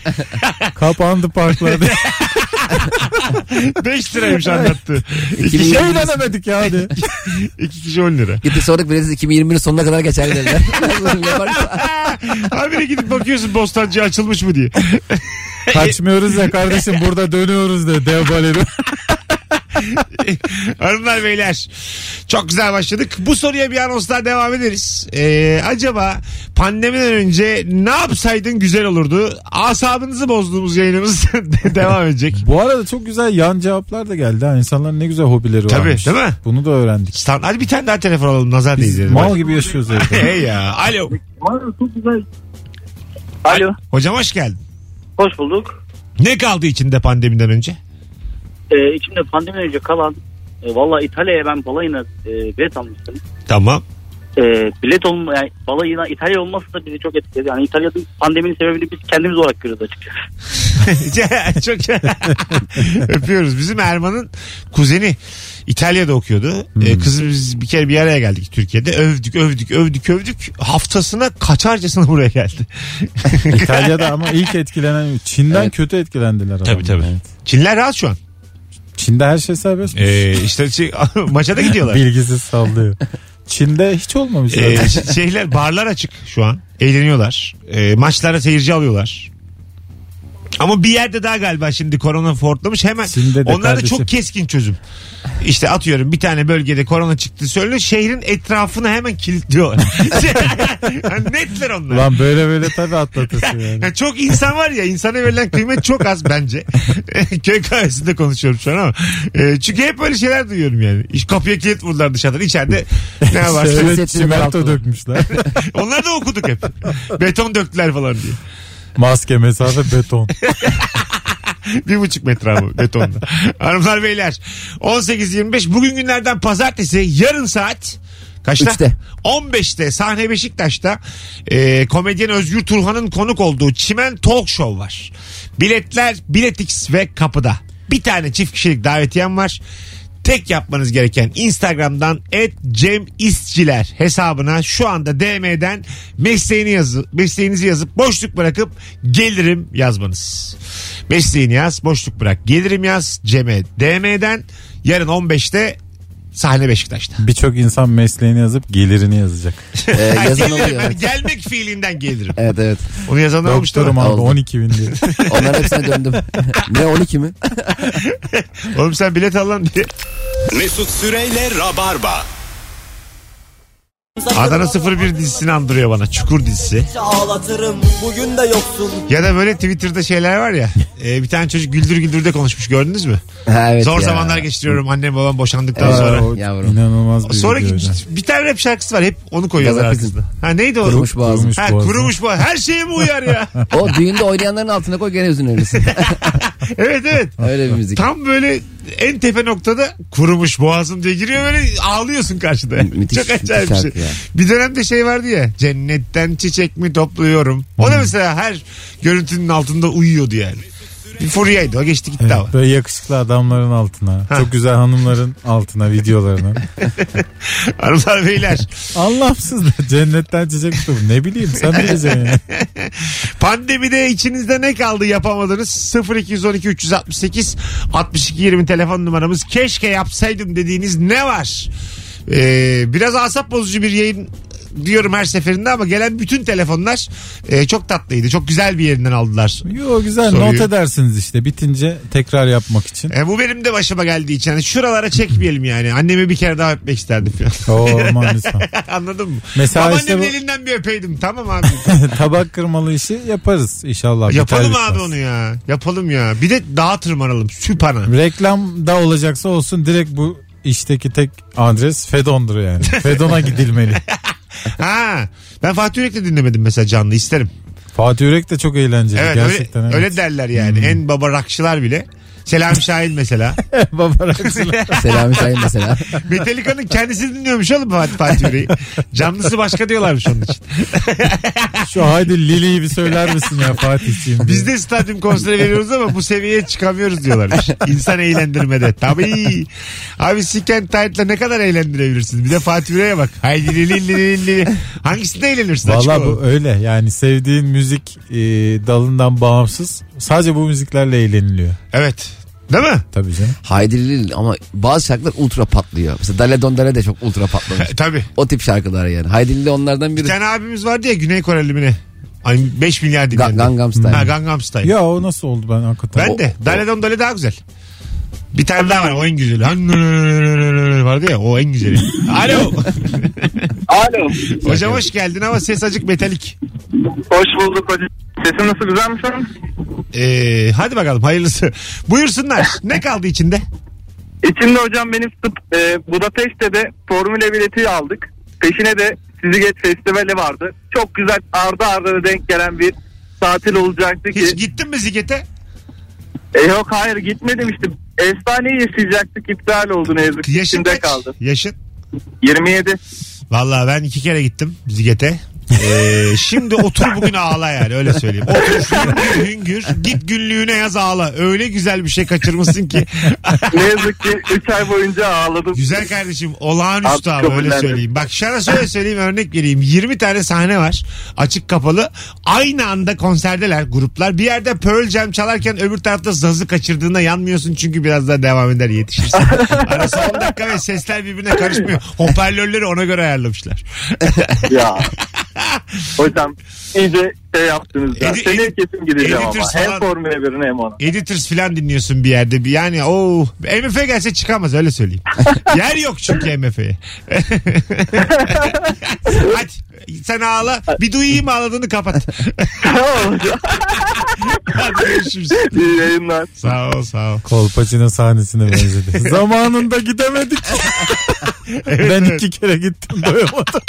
S4: Kapandı parklarda.
S2: 5 liraymış anlattı. İki kişi,
S4: Eğlenemedik Şey ya hadi.
S2: iki kişi 10 lira.
S3: Gitti sorduk bileti 2020'nin sonuna kadar
S2: [laughs]
S3: geçer dediler. Nasıl yaparsa.
S2: Habire gidip bakıyorsun Bostancı açılmış mı diye. [laughs]
S4: Kaçmıyoruz ya kardeşim burada dönüyoruz de dev baleri.
S2: Hanımlar beyler çok güzel başladık. Bu soruya bir anonsla devam ederiz. Ee, acaba pandemiden önce ne yapsaydın güzel olurdu? Asabınızı bozduğumuz yayınımız [laughs] devam edecek.
S4: [laughs] Bu arada çok güzel yan cevaplar da geldi. Ha. İnsanların ne güzel hobileri
S2: Tabii,
S4: varmış.
S2: değil mi?
S4: Bunu da öğrendik.
S2: Stan- Hadi bir tane daha telefon alalım nazar
S4: Biz
S2: değdirelim.
S4: mal gibi yaşıyoruz [laughs] evde.
S2: Hey ya. Alo.
S6: Alo.
S2: Hocam hoş geldin.
S6: Hoş bulduk.
S2: Ne kaldı içinde pandemiden önce?
S6: Ee, içimde pandemi önce kalan e, valla İtalya'ya ben balayına e, bilet almıştım.
S2: Tamam.
S6: E, bilet olma, yani balayına İtalya olması da bizi çok etkiledi. Yani İtalya'da pandeminin sebebini biz kendimiz olarak görüyoruz açıkçası.
S2: [laughs] Çok öpüyoruz. Bizim Erman'ın kuzeni İtalya'da okuyordu. Ee, kızı biz bir kere bir araya geldik Türkiye'de. Övdük, övdük, övdük, övdük. Haftasına kaçarcasına buraya geldi.
S4: İtalya'da ama ilk etkilenen Çin'den
S3: Evet.
S4: kötü etkilendiler. adamlar.
S2: Tabii, tabii.
S4: Evet.
S2: Çinler rahat şu an.
S4: Çin'de her şey serbest.
S2: Ee, işte şey, [laughs] maça da gidiyorlar.
S4: Bilgisiz sallıyor. Çin'de hiç olmamış.
S2: Ee,
S4: [laughs] zaten.
S2: ş- [laughs] şeyler barlar açık şu an. Eğleniyorlar. Ee, maçlara seyirci alıyorlar. Ama bir yerde daha galiba şimdi korona fortlamış hemen.
S4: Çin'de de
S2: Onlar da
S4: kardeşim.
S2: çok keskin çözüm. İşte atıyorum bir tane bölgede korona çıktı söyle şehrin etrafını hemen
S4: [laughs]
S2: kilitliyorlar. [laughs] Yani Netler onlar.
S4: Lan böyle böyle tabii atlatırsın yani.
S2: Yani çok insan var ya insana verilen kıymet çok az bence. [laughs] Köy kahvesinde konuşuyorum şu an ama. Ee, çünkü hep böyle şeyler duyuyorum yani. İş- Kapıya kilit vurdular dışarıdan içeride ne varsa.
S4: Şöyle
S3: Hissettiğini
S4: çimento
S3: bıraktılar.
S4: dökmüşler. [laughs]
S2: [laughs] Onlar da okuduk hep. Beton döktüler falan diye.
S4: Maske, mesafe, beton.
S2: Bir buçuk metre abi betonda. Hanımlar beyler 18.25 bugün günlerden pazartesi yarın saat kaçta?
S3: Üçte.
S2: 15'te sahne Beşiktaş'ta e, komedyen Özgür Turhan'ın konuk olduğu Çimen Talk Show var. Biletler Biletix ve kapıda. Bir tane çift kişilik davetiyem var. Tek yapmanız gereken Instagram'dan et Cem İstçiler hesabına şu anda DM'den mesleğini yazı, mesleğinizi yazıp boşluk bırakıp gelirim yazmanız. Mesleğini yaz, boşluk bırak, gelirim yaz Cem'e DM'den yarın 15'te sahne Beşiktaş'ta.
S4: Birçok insan mesleğini yazıp gelirini yazacak.
S3: Ee,
S2: Ha,
S3: yazan
S2: gelirim,
S3: oluyor.
S2: hani gelmek fiilinden gelirim.
S3: Evet evet.
S2: Onu yazanlar olmuştu.
S4: Doktorum abi
S3: Oldu.
S4: 12 bin diye.
S3: Onların
S2: [laughs]
S3: hepsine döndüm. ne 12 mi? [laughs]
S2: Oğlum sen bilet al lan diye.
S1: Mesut Süreyle Rabarba.
S2: Adana 01 dizisini andırıyor bana. Çukur dizisi.
S8: Ağlatırım bugün de yoksun
S2: Ya da böyle Twitter'da şeyler var ya. e, bir tane çocuk güldür güldür de konuşmuş gördünüz mü?
S3: Ha, evet
S2: Zor
S3: ya.
S2: zamanlar geçiriyorum annem babam boşandıktan
S3: Evet.
S2: sonra.
S4: O
S3: Yavrum.
S4: İnanılmaz bir
S2: Sonra
S4: video
S2: [laughs]
S4: hocam.
S2: bir tane rap şarkısı var hep onu koyuyorlar
S3: Gazapizm.
S2: arkasında. Ha neydi o?
S3: Kurumuş boğazım.
S4: Kurumuş
S2: Ha
S4: boğazım.
S2: kurumuş boğaz. Her şeye mi uyar
S3: [laughs]
S2: ya?
S3: O düğünde oynayanların altına koy
S2: [laughs]
S3: gene üzülürsün.
S2: evet evet.
S3: Öyle bir müzik.
S2: Tam böyle en tepe noktada kurumuş boğazım diye giriyor böyle ağlıyorsun karşıda.
S3: Müthiş,
S2: Çok acayip bir
S3: müthiş
S2: şey.
S3: şarkı ya.
S2: Bir dönemde şey vardı ya cennetten çiçek mi topluyorum. O
S3: Hmm.
S2: da mesela her görüntünün altında uyuyordu yani. Bir furyaydı o geçti gitti
S4: Evet,
S2: ama. [laughs]
S4: böyle yakışıklı adamların altına,
S2: Ha.
S4: çok güzel hanımların
S2: [laughs]
S4: altına videolarına.
S2: Hanımlar beyler
S4: Anlamsız da cennetten çiçek tutup ne bileyim sen
S2: [laughs]
S4: bileceksin ya.
S2: pandemide içinizde ne kaldı yapamadınız 0212 368 62 20 telefon numaramız keşke yapsaydım dediğiniz ne var? Ee, biraz asap bozucu bir yayın diyorum her seferinde ama gelen bütün telefonlar e, çok tatlıydı. Çok güzel bir yerinden aldılar.
S4: Yo güzel
S2: Soruyu-
S4: not edersiniz işte bitince tekrar yapmak için.
S2: E, bu benim de başıma geldiği için hani şuralara çekmeyelim yani. Annemi bir kere daha öpmek isterdim falan. [laughs]
S4: Oo aman lütfen. [laughs]
S2: Anladın mı?
S4: Mesela
S2: Babaannemin
S4: işte bu-
S2: elinden bir öpeydim. Tamam abi.
S4: Tabak kırmalı işi yaparız inşallah. biter
S2: Yapalım
S4: bitmez.
S2: abi onu ya. Yapalım ya. Bir de dağa tırmanalım. Süpana.
S4: Reklamda olacaksa olsun direkt bu işteki tek adres
S2: [laughs]
S4: Fedon'dur yani. Fedon'a gidilmeli.
S2: Ha. Ben Fatih Yürek'le dinlemedim mesela canlı isterim.
S4: Fatih Yürek de çok eğlenceli
S2: Evet,
S4: gerçekten.
S2: öyle,
S4: evet. Hmm.
S2: öyle
S4: [laughs]
S2: derler yani. En baba rakçılar bile. Selam Şahin
S4: [laughs]
S2: mesela.
S4: Baba Raksın.
S3: Selami Şahin mesela.
S2: Metallica'nın kendisi dinliyormuş oğlum Fatih, Fatih Yürek'i. Canlısı başka diyorlarmış onun için.
S4: Şu haydi Lili'yi bir söyler misin ya
S2: [laughs]
S4: Fatih'ciğim? diye.
S2: Biz de stadyum konseri veriyoruz ama bu seviyeye çıkamıyoruz diyorlarmış. İnsan eğlendirmede. Tabii. Abi Siken Tight'la ne kadar eğlendirebilirsiniz? Bir de Fatih Yürek'e bak. Haydi li li li li li. Hangisinde eğlenirsin? Açık
S4: Valla
S2: olalım.
S4: bu öyle yani sevdiğin müzik e, dalından bağımsız sadece bu müziklerle eğleniliyor.
S2: Evet. Değil mi?
S4: Tabii canım.
S3: Haydirlil ama bazı şarkılar ultra patlıyor. Mesela Dale Don Dale de çok ultra patlamış.
S2: E, tabii.
S3: O tip şarkılar yani. Haydirlil onlardan
S2: Bir
S3: biri.
S2: tane abimiz vardı ya Güney Koreli mi ne? Hani 5 milyar dinlendi.
S3: Ga- Gangnam Style.
S2: Ha Gangnam Style.
S4: Ya o nasıl oldu ben hakikaten.
S2: Ben de.
S3: O-
S2: Dale Don Dale daha güzel. Bir tane daha var o en güzeli. Hani vardı ya o en güzeli. Alo.
S6: Alo.
S2: Hocam hoş geldin ama ses acık metalik.
S6: Hoş bulduk hocam. Sesim nasıl güzel mi şu an?
S2: Ee, hadi bakalım hayırlısı. Buyursunlar. Ne kaldı içinde?
S6: İçinde hocam benim tıp e, Budapest'te de formüle bileti aldık. Peşine de sizi geç festivali vardı. Çok güzel ardı ardına denk gelen bir tatil olacaktı ki.
S2: Hiç gittin mi zigete?
S6: E, yok hayır gitmedim işte. Efsaneyi yaşayacaktık iptal oldu ne yazık ki.
S2: Yaşın
S6: İçimde
S2: kaç?
S6: kaldı.
S2: Yaşın.
S6: 27.
S2: Valla ben iki kere gittim zigete. Ee, şimdi otur bugün ağla yani öyle söyleyeyim. Otur şurada hüngür git günlüğüne yaz ağla. Öyle güzel bir şey kaçırmışsın ki.
S6: Ne yazık ki 3 ay boyunca ağladım.
S2: Güzel kardeşim olağanüstü
S6: Abi,
S2: abi,
S6: çok
S2: öyle
S6: önemli.
S2: söyleyeyim. Bak şana şöyle söyleyeyim örnek vereyim. 20 tane sahne var açık kapalı. Aynı anda konserdeler gruplar. Bir yerde Pearl Jam çalarken öbür tarafta Zaz'ı kaçırdığında yanmıyorsun çünkü biraz daha devam eder yetişirsin. Arası 10 dakika ve sesler birbirine karışmıyor. Hoparlörleri ona göre ayarlamışlar.
S6: ya. Hocam iyice şey yaptınız ya.
S2: Edi-
S6: Seneye kesin gideceğim ama.
S2: editors
S6: Hem
S2: falan-
S6: Formula 1'ine hem ona.
S2: Editors falan dinliyorsun bir yerde. Bir- Yani o MF gelse çıkamaz öyle söyleyeyim. Yer yok çünkü MF'ye. Hadi sen ağla. Bir duyayım ağladığını kapat.
S6: Tamam hocam.
S2: Hadi görüşürüz.
S6: [laughs] İyi yayınlar.
S2: Sağ ol sağ ol.
S4: Kolpaçino
S2: [laughs]
S4: sahnesine benzedi. Zamanında gidemedik. ben iki kere gittim
S2: [laughs]
S4: doyamadım.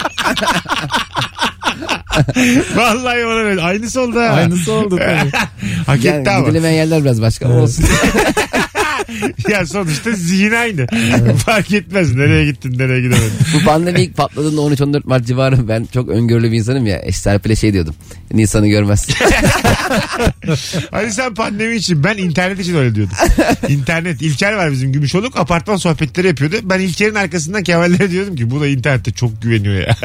S2: Vallahi bana böyle. Aynısı oldu ha.
S4: Aynısı oldu
S2: [laughs]
S4: tabii.
S2: Hak
S3: Yani
S2: etti ama.
S3: gidilemeyen yerler biraz başka ama olsun.
S2: Ya sonuçta zihin aynı. Fark etmez nereye gittin nereye gidemedin.
S3: Bu pandemi ilk patladığında 13-14 Mart civarı ben çok öngörülü bir insanım ya. Eş Serpil'e şey diyordum. Nisan'ı görmez.
S2: Hani sen pandemi için ben internet için öyle
S4: [laughs]
S2: diyordum. İnternet. İlker var bizim Gümüşoluk apartman sohbetleri yapıyordu. Ben İlker'in arkasından Kemal'lere diyordum ki bu da internette çok güveniyor ya.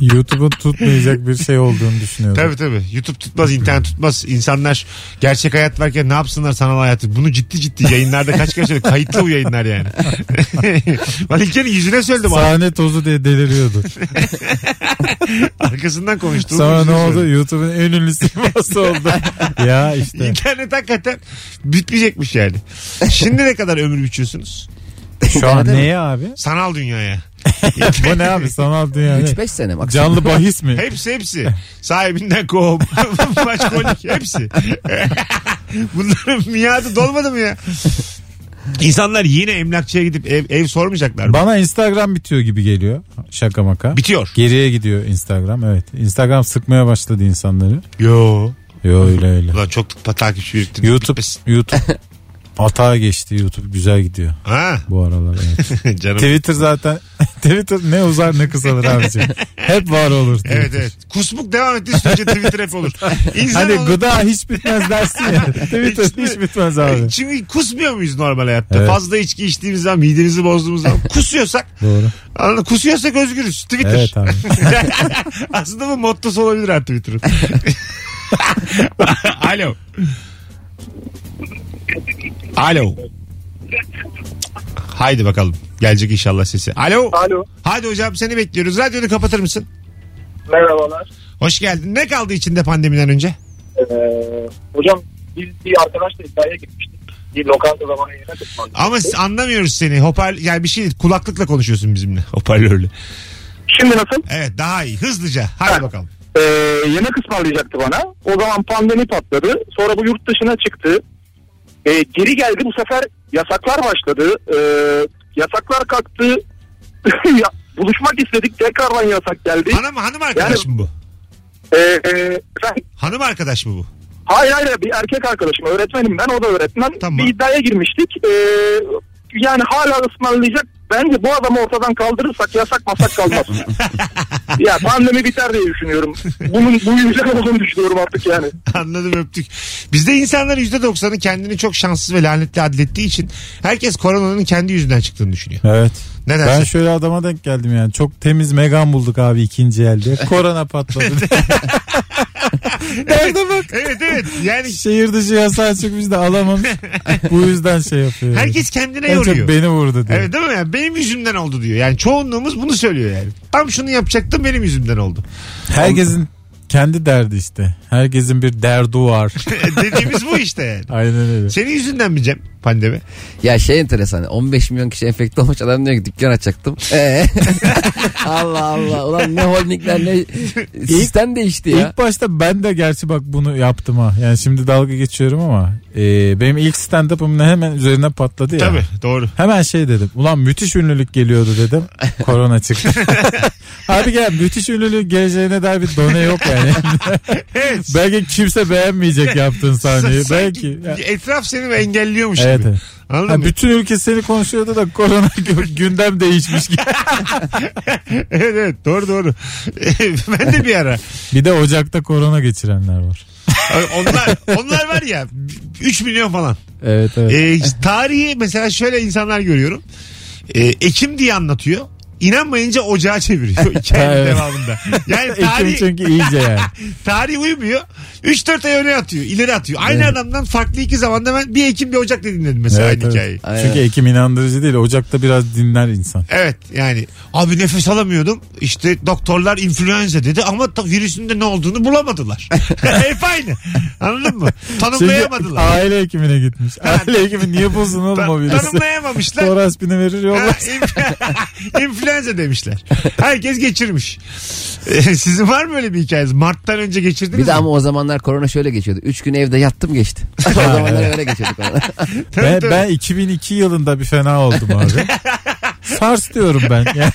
S4: YouTube'un tutmayacak bir şey olduğunu
S2: [laughs]
S4: düşünüyorum.
S2: tabii tabii. YouTube tutmaz, internet tutmaz. İnsanlar gerçek hayat varken ne yapsınlar sanal hayatı? Bunu ciddi ciddi yayınlarda kaç kere söyledim. Kayıtlı bu yayınlar
S4: [laughs]
S2: yani. ben İlker'in yüzüne söyledim.
S4: Sahne tozu
S2: [laughs]
S4: diye deliriyordu.
S2: Arkasından konuştum.
S4: Sonra ne
S2: Yüzüne
S4: oldu?
S2: söyledim.
S4: YouTube'un en ünlü
S2: [laughs]
S4: siması oldu. ya işte.
S2: İnternet hakikaten bitmeyecekmiş yani. Şimdi ne kadar ömür biçiyorsunuz?
S4: Şu an neye abi?
S2: Sanal dünyaya.
S4: [laughs] Bu ne abi? Sanal dünya. ne?
S3: 3-5 sene maksimum.
S4: Canlı bahis mi?
S2: Hepsi hepsi. Sahibinden [laughs] kov. Maç kolik hepsi. [laughs] Bunların miadı dolmadı mı ya? İnsanlar yine emlakçıya gidip ev, ev sormayacaklar mı?
S4: Bana Instagram bitiyor gibi geliyor. Şaka maka.
S2: Bitiyor.
S4: Geriye gidiyor Instagram evet. Instagram sıkmaya başladı insanları.
S2: Yo.
S4: Yo öyle öyle.
S2: Ulan çok pa- takipçi yürüttün.
S4: YouTube
S2: Bitmesin.
S4: YouTube
S2: [laughs]
S4: atağa geçti YouTube güzel gidiyor [laughs]
S2: Ha
S4: bu aralar. Evet.
S2: [laughs] canım.
S4: Twitter zaten [laughs] Twitter ne uzar ne kısalır abiciğim. Hep var olur. Twitter.
S2: Evet evet. Kusmuk devam ettiği sürece Twitter hep olur. İnsan
S4: Hani
S2: olur.
S4: gıda hiç bitmez dersin
S2: [laughs]
S4: ya. Twitter
S2: İşte-
S4: hiç bitmez abi.
S2: Çünkü E, kusmuyor muyuz normal hayatta?
S4: Evet.
S2: Fazla içki içtiğimiz zaman, midemizi bozduğumuz zaman kusuyorsak,
S4: Doğru.
S2: anladın mı? kusuyorsak özgürüz. Twitter. [laughs]
S4: Evet abi.
S2: Aslında bu mottosu olabilir ha Twitter'ın. [laughs] Alo. Alo. Haydi bakalım. Gelecek inşallah sesi. Alo.
S7: Alo.
S2: Haydi hocam seni bekliyoruz. Radyonu kapatır mısın?
S7: Merhabalar.
S2: Hoş geldin. Ne kaldı içinde pandemiden önce?
S7: Ee, hocam biz bir arkadaşla iddiaya gitmiştik. Bir lokanta zamanı yine tutmandık.
S2: Ama s- anlamıyoruz seni. Hoparl yani bir şey kulaklıkla konuşuyorsun bizimle. [laughs] Hoparlörle.
S6: Şimdi nasıl?
S2: Evet daha iyi. Hızlıca. Haydi bakalım.
S6: Ee, yemek ısmarlayacaktı bana. O zaman pandemi patladı. Sonra bu yurt dışına çıktı. Ee, geri geldi bu sefer yasaklar başladı. Ee, yasaklar kalktı. [laughs] Ya, Buluşmak istedik tekrardan yasak geldi.
S2: Hanım, hanım arkadaş
S6: Yani-
S2: mı bu?
S6: Ee, e, efendim,
S2: Hanım arkadaş mı bu?
S6: hayır hayır bir erkek arkadaşım öğretmenim ben o da öğretmen.
S2: Tamam.
S6: Bir iddiaya girmiştik. Ee, yani hala ısmarlayacak. Bence bu adamı ortadan kaldırırsak yasak masak kalmaz. ya pandemi biter diye düşünüyorum. Bunun bu yüzden olduğunu düşünüyorum artık yani.
S2: Anladım öptük. Bizde insanların %90'ı kendini çok şanssız ve lanetli adlettiği için herkes koronanın kendi yüzünden çıktığını düşünüyor.
S4: Evet.
S2: Ne
S4: Ben
S2: dersin?
S4: şöyle adama denk geldim yani. Çok temiz Megan bulduk abi ikinci elde.
S2: [laughs]
S4: Korona patladı. Nerede bak?
S2: Evet evet yani
S4: Şehir dışı yasağı çıkmış da alamamış. Bu yüzden şey yapıyor.
S2: herkes kendine
S4: en çok
S2: yoruyor.
S4: beni vurdu diyor.
S2: Evet değil mi? Yani benim yüzümden oldu diyor. Yani çoğunluğumuz bunu söylüyor yani. Tam şunu yapacaktım benim yüzümden
S4: [laughs]
S2: oldu.
S4: Herkesin kendi derdi işte. Herkesin bir derdu
S2: [laughs]
S4: var.
S2: Dediğimiz bu işte yani.
S4: Aynen öyle.
S2: Senin yüzünden mi Cem pandemi?
S3: Ya şey enteresan. 15 milyon kişi enfekte olmuş adam diyor ki dükkan açacaktım. [laughs] Ee? Allah Allah. Ulan ne holdingler ne sistem değişti ya.
S4: İlk başta ben de gerçi bak bunu yaptım ha. Yani şimdi dalga geçiyorum ama e, benim ilk stand-up'ımın hemen üzerine patladı ya.
S2: Tabii doğru.
S4: Hemen şey dedim. Ulan müthiş ünlülük geliyordu dedim. Korona çıktı. Abi gel müthiş ünlülük geleceğine dair bir done yok yani.
S2: Evet.
S4: Belki kimse beğenmeyecek yaptığın sahneyi.
S2: Sanki
S4: Belki.
S2: Etraf seni engelliyormuş
S4: Evet,
S2: gibi.
S4: evet.
S2: Anladın
S4: Ha,
S2: mı?
S4: bütün ülke seni konuşuyordu da korona gö- gündem değişmiş gibi.
S2: [laughs] evet, evet doğru doğru. [laughs] ben de bir ara.
S4: Bir de Ocak'ta korona geçirenler var.
S2: Onlar onlar var ya 3 milyon falan.
S4: Evet evet.
S2: Ee, tarihi mesela şöyle insanlar görüyorum. Ee, Ekim diye anlatıyor. İnanmayınca ocağa
S4: [laughs]
S2: çeviriyor hikayenin
S4: Evet.
S2: devamında. E, Yani
S4: [laughs] Ekim
S2: tarih,
S4: çünkü iyice yani.
S2: tarih uymuyor. 3-4 ay öne atıyor. ileri atıyor. Aynı
S4: Evet.
S2: adamdan farklı iki zamanda ben bir Ekim bir Ocak diye dinledim mesela
S4: Evet,
S2: aynı
S4: evet.
S2: hikayeyi.
S3: Aynen.
S4: Çünkü Ekim inandırıcı değil. Ocak'ta biraz dinler insan.
S2: Evet yani abi nefes alamıyordum. İşte doktorlar influenza dedi ama ta- virüsün de ne olduğunu bulamadılar.
S4: [laughs]
S2: Hep aynı. Anladın mı?
S4: Şey, Çünkü
S2: Tanımlayamadılar.
S4: aile hekimine gitmiş. Aile hekimi niye bulsun oğlum o
S2: Ta-
S4: virüsü?
S2: tanımlayamamışlar.
S4: Toraspini verir
S2: Ha, [laughs]
S4: yollar.
S2: inf- [laughs] İnfluenza demişler. Herkes geçirmiş. [laughs] Ee, Sizin var mı öyle bir hikayeniz? Mart'tan önce geçirdiniz
S3: Bir de
S2: mi?
S3: ama o zamanlar korona şöyle geçiyordu. Üç gün evde yattım geçti. [laughs] o zamanlar öyle geçiyordu korona.
S2: Tabii,
S4: Ben,
S2: tabii.
S4: ben 2002 yılında bir fena oldum [laughs] abi. Sars diyorum ben. Yani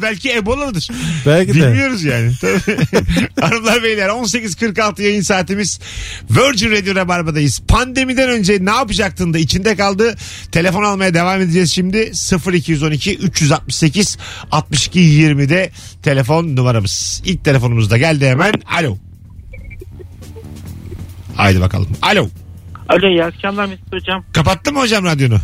S2: [laughs] Belki Ebola'dır.
S4: belki de.
S2: Bilmiyoruz yani. Tabii. [laughs] Hanımlar beyler 18.46 yayın saatimiz Virgin Radio Rabarba'dayız. Pandemiden önce ne yapacaktın da içinde kaldı. Telefon almaya devam edeceğiz şimdi. 0212 368 62 20'de telefon numaramız. İlk telefonumuz da geldi hemen. Alo. Haydi bakalım. Alo.
S5: Alo iyi akşamlar Mesut Hocam.
S2: Kapattın mı hocam radyonu?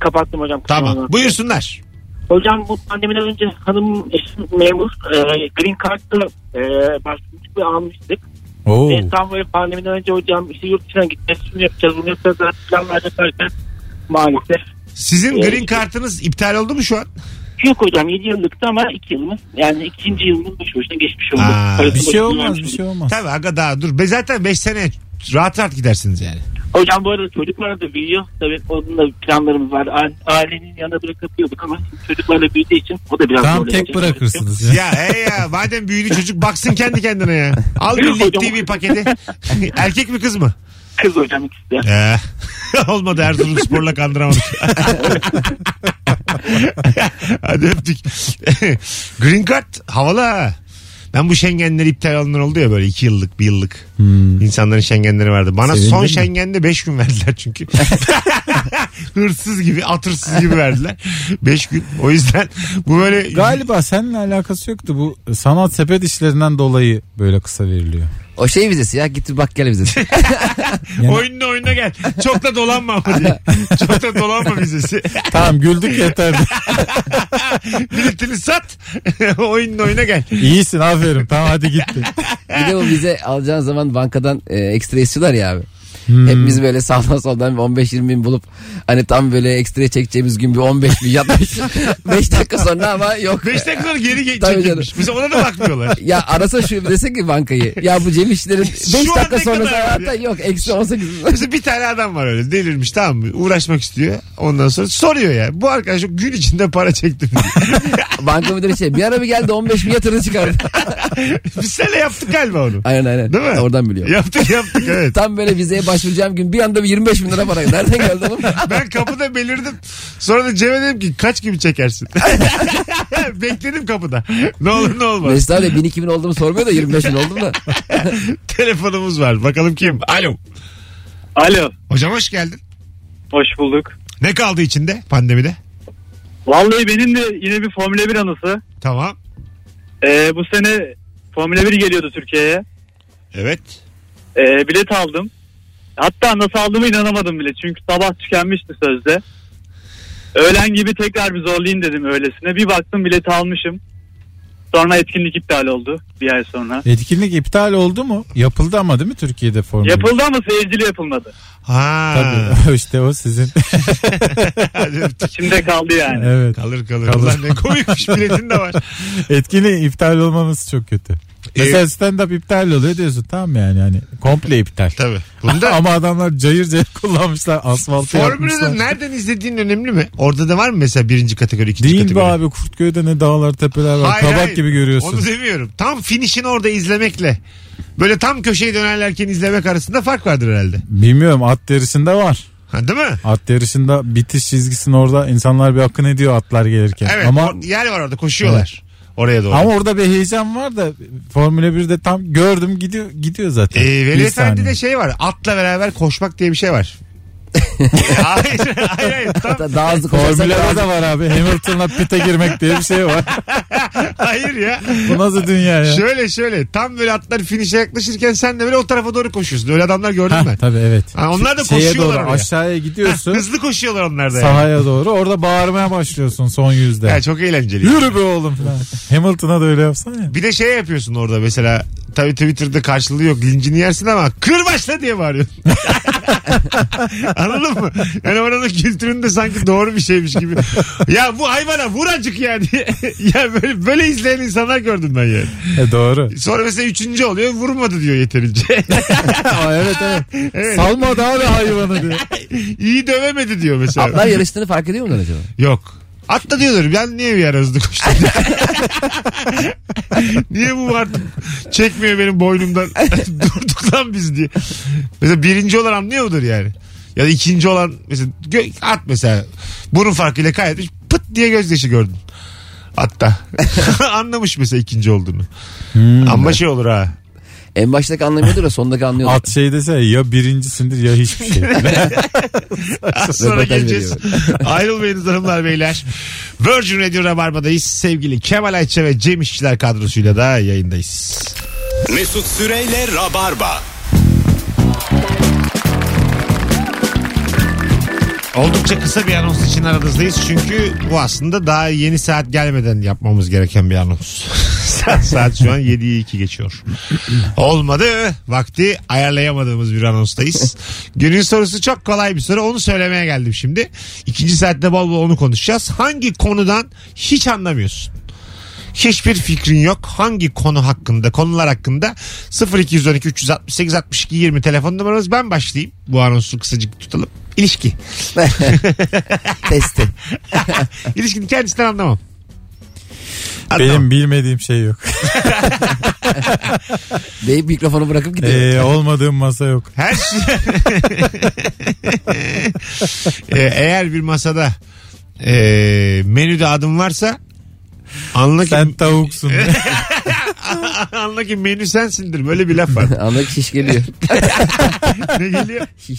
S5: Kapattım hocam. kusura
S2: Tamam.
S5: bakma.
S2: Buyursunlar.
S5: Hocam bu pandemiden önce hanım eşim memur e, Green Card'da e, başvurmuştuk ve almıştık.
S4: Oo.
S5: Ve tam böyle pandemiden önce hocam işte yurt dışına gideceğiz, şunu yapacağız, bunu yapacağız, zaten planlar yaparken maalesef.
S2: Sizin
S5: Ee,
S2: green kartınız iptal oldu mu şu an?
S5: Yok hocam 7 yıllıktı ama 2 yılımız yani ikinci yılımız boş boşuna geçmiş oldu.
S2: Aa,
S5: Parası
S4: Bir şey
S5: boşuna
S4: olmaz
S5: vermiş
S4: bir
S5: olduk.
S4: şey
S2: [laughs]
S4: olmaz.
S2: Tabii aga daha dur. Be zaten 5 sene rahat rahat gidersiniz yani.
S5: Hocam bu arada çocuklar da büyüyor. Tabii onun da planlarımız var. A- Ailenin yanına bırakabiliyorduk ama şimdi çocuklarla büyüdüğü için o da biraz
S4: Tam
S5: zorlayacak.
S4: tek bırakırsınız. ya.
S2: [laughs] Ya hey ya madem büyüdü çocuk baksın kendi kendine ya. Al bir Lig TV paketi. [laughs] Erkek mi kız mı?
S5: Kız hocam ikisi de.
S2: Ee, [laughs] olmadı Erzurum sporla kandıramadık. [laughs] Hadi öptük. [laughs] Green Card havalı ha. Ben bu Schengenler iptal alınır oldu ya böyle iki yıllık bir yıllık. İnsanların Schengenleri vardı. Bana
S4: Hmm. Sevindin
S2: son
S4: mi?
S2: Schengen'de beş gün verdiler
S4: [laughs]
S2: çünkü. Hırsız gibi atırsız gibi verdiler. Beş gün. O yüzden bu böyle...
S4: Galiba seninle alakası yoktu. Bu sanat sepet işlerinden dolayı böyle kısa veriliyor.
S3: O şey vizesi ya git bir bak gel vizesi.
S4: Yani-
S2: Oyunun oyununa gel. Çok da dolanma ama diye. Çok da dolanma vizesi. [laughs]
S4: Tamam güldük yeter.
S2: Biletini sat. [laughs] oyunun oyuna gel.
S4: İyisin aferin. Tamam hadi gitti.
S2: [laughs]
S3: bir de o vize alacağın zaman bankadan e, ekstra istiyorlar ya abi.
S2: Hmm.
S3: Hepimiz böyle sağdan soldan bir 15-20 bin bulup hani tam böyle ekstra çekeceğimiz gün bir 15
S2: [laughs]
S3: bin yatmış. 5 dakika sonra ama yok.
S2: Beş dakika sonra geri ge-
S3: Tabii
S2: çekilmiş. Mesela ona da bakmıyorlar.
S3: Ya arasa şu dese ki bankayı. Ya bu Cem İşler'in 5
S2: Şu an
S3: dakika
S2: ne
S3: sonra
S2: kadar var
S3: hayatta yok. Eksi 18.
S2: Mesela bir tane adam var öyle delirmiş tamam mı? Uğraşmak istiyor. Ondan sonra soruyor ya. Bu arkadaş yok, gün içinde para çektim diye.
S3: [laughs]
S2: [laughs]
S3: Banka müdürü şey bir ara bir geldi 15 bin yatırdı çıkardı. [laughs]
S2: Biz seninle yaptık galiba onu.
S3: aynen aynen.
S2: Değil mi?
S3: Oradan biliyor.
S2: Yaptık
S3: [laughs]
S2: yaptık evet.
S3: Tam böyle vizeye başvuracağım gün bir anda bir 25 bin lira para. Nereden geldi
S2: [laughs]
S3: oğlum?
S2: Ben kapıda belirdim. Sonra da Cem'e dedim ki kaç gibi çekersin? [laughs] Bekledim kapıda. Ne olur ne olmaz.
S3: Mesut abi 1000 2000 olduğumu sormuyor da 25 bin oldum da.
S2: Telefonumuz var. Bakalım kim? Alo.
S7: Alo.
S2: Hocam hoş geldin.
S7: Hoş bulduk.
S2: Ne kaldı içinde pandemide?
S7: Vallahi benim de yine bir Formula 1 anısı.
S2: Tamam.
S7: Ee, bu sene Formula 1 geliyordu Türkiye'ye.
S2: Evet.
S7: Ee, bilet aldım. Hatta nasıl aldığımı inanamadım bile. Çünkü sabah tükenmişti sözde. Öğlen gibi tekrar bir zorlayayım dedim öylesine. Bir baktım bileti almışım. Sonra etkinlik iptal oldu bir ay sonra.
S4: Etkinlik iptal oldu mu? Yapıldı ama değil mi Türkiye'de formül?
S7: Yapıldı ama seyircili yapılmadı.
S2: Ha.
S4: [laughs] Tabii. işte o sizin.
S2: Hadi öptük.
S7: İçimde kaldı yani.
S4: evet.
S2: Kalır kalır.
S4: Kalır.
S2: Ulan ne
S4: [laughs]
S2: komikmiş biletin de var.
S4: Etkinliğin iptal olmaması çok kötü. Mesela stand-up iptal oluyor diyorsun tamam yani yani komple iptal.
S2: Tabii. Bunda
S4: Ama adamlar cayır cayır kullanmışlar asfaltı yapmışlar.
S2: formülü nereden izlediğin önemli mi? Orada da var mı mesela birinci kategori, ikinci
S4: Değil be
S2: kategori?
S4: abi Kurtköy'de ne dağlar tepeler var.
S2: Hayır,
S4: Kabak
S2: hayır.
S4: gibi görüyorsun.
S2: Onu demiyorum. Tam finişini orada izlemekle böyle tam köşeyi dönerlerken izlemek arasında fark vardır herhalde.
S4: Bilmiyorum at yarışında var.
S2: Ha, değil mi?
S4: At yarışında bitiş çizgisinin orada insanlar bir akın ediyor atlar gelirken.
S2: Evet.
S4: ama
S2: or- yer var orada koşuyorlar. Oraya doğru.
S4: ama orada bir heyecan var da Formula 1'de tam gördüm gidiyor gidiyor zaten.
S2: Ee,
S4: Bir
S2: Veli Efendi'de
S4: saniye. [laughs]
S2: şey var. Atla beraber koşmak diye bir şey var. hayır hayır hayır. Tam-
S3: Daha hızlı koşarsak daha
S4: Formüla'da
S3: hızlı.
S4: da var abi. Hamilton'la pite girmek diye bir şey var.
S2: hayır ya.
S4: Bu nasıl dünya ya?
S2: Şöyle şöyle tam böyle atlar finişe yaklaşırken sen de böyle o tarafa doğru koşuyorsun. Öyle adamlar gördün
S4: Ha,
S2: mü?
S4: tabii evet.
S2: Ha, onlar da
S4: Şeye
S2: koşuyorlar
S4: doğru
S2: oraya.
S4: aşağıya
S2: [laughs]
S4: gidiyorsun.
S2: Hızlı koşuyorlar onlar da. Yani.
S4: sahaya doğru. Orada bağırmaya başlıyorsun son yüzde.
S2: Yani çok eğlenceli.
S4: Yürü be oğlum falan. Hamilton'a da öyle yapsana ya.
S2: Bir de şey yapıyorsun orada mesela. Tabii Twitter'da karşılığı yok. Lincini yersin ama kırbaçla diye bağırıyorsun. [laughs] Anladın mı? Yani oranın kültüründe sanki doğru bir şeymiş gibi. Ya bu hayvana vuracık yani. [laughs] ya böyle, böyle izleyen insanlar gördüm ben yani.
S4: E [laughs] doğru.
S2: Sonra mesela üçüncü oluyor vurmadı diyor yeterince. [laughs]
S4: Aa, evet evet. Salma daha da hayvanı diyor.
S2: İyi dövemedi diyor mesela.
S3: Atlar yarıştığını fark ediyor mular acaba?
S2: Yok. Atla diyorlar. Ben niye bir ara hızlı koştum? [laughs] niye bu artık çekmiyor benim boynumdan? [laughs] Durduk lan biz diye. Mesela birinci olan anlıyor mudur yani? Ya da ikinci olan mesela gö- at mesela burun farkıyla kaybetmiş pıt diye gözyaşı gördün. Hatta [laughs] anlamış mesela ikinci olduğunu. Ama şey olur ha.
S3: En baştaki anlamıyordur da sondaki anlıyor.
S4: At şey dese ya birincisindir ya hiçbir şey.
S3: [laughs]
S2: Az sonra
S3: Röportaj
S2: geleceğiz. [laughs] Ayrılmayınız hanımlar beyler. Virgin Radio Rabarba'dayız. Sevgili Kemal Ayça ve Cem İşçiler kadrosuyla da yayındayız.
S1: Mesut Süreyle Rabarba.
S2: Oldukça kısa bir anons için aranızdayız. Çünkü bu aslında daha yeni saat gelmeden yapmamız gereken bir anons. [laughs] saat, saat şu an 7'yi 2 geçiyor. Olmadı. Vakti ayarlayamadığımız bir anonstayız. Günün sorusu çok kolay bir soru. Onu söylemeye geldim şimdi. İkinci saatte bol bol onu konuşacağız. Hangi konudan hiç anlamıyorsun? Hiçbir fikrin yok. Hangi konu hakkında, konular hakkında 0212 368 62 20 telefon numaramız. Ben başlayayım. Bu anonsu kısacık tutalım. İlişki.
S3: [laughs] Testi.
S2: İlişkinin kendisinden anlamam. Anlamam.
S4: Benim bilmediğim şey yok.
S3: Deyip mikrofonu bırakıp gidiyor. [laughs]
S4: Ee, olmadığım masa yok.
S2: Her şey... [laughs] Ee, eğer bir masada e, menüde adım varsa anla ki,
S4: Sen
S3: [laughs]
S4: tavuksun.
S2: [laughs] anla ki menü sensindir. Böyle bir laf var.
S3: Anlık şiş geliyor.
S2: ne geliyor? Şey-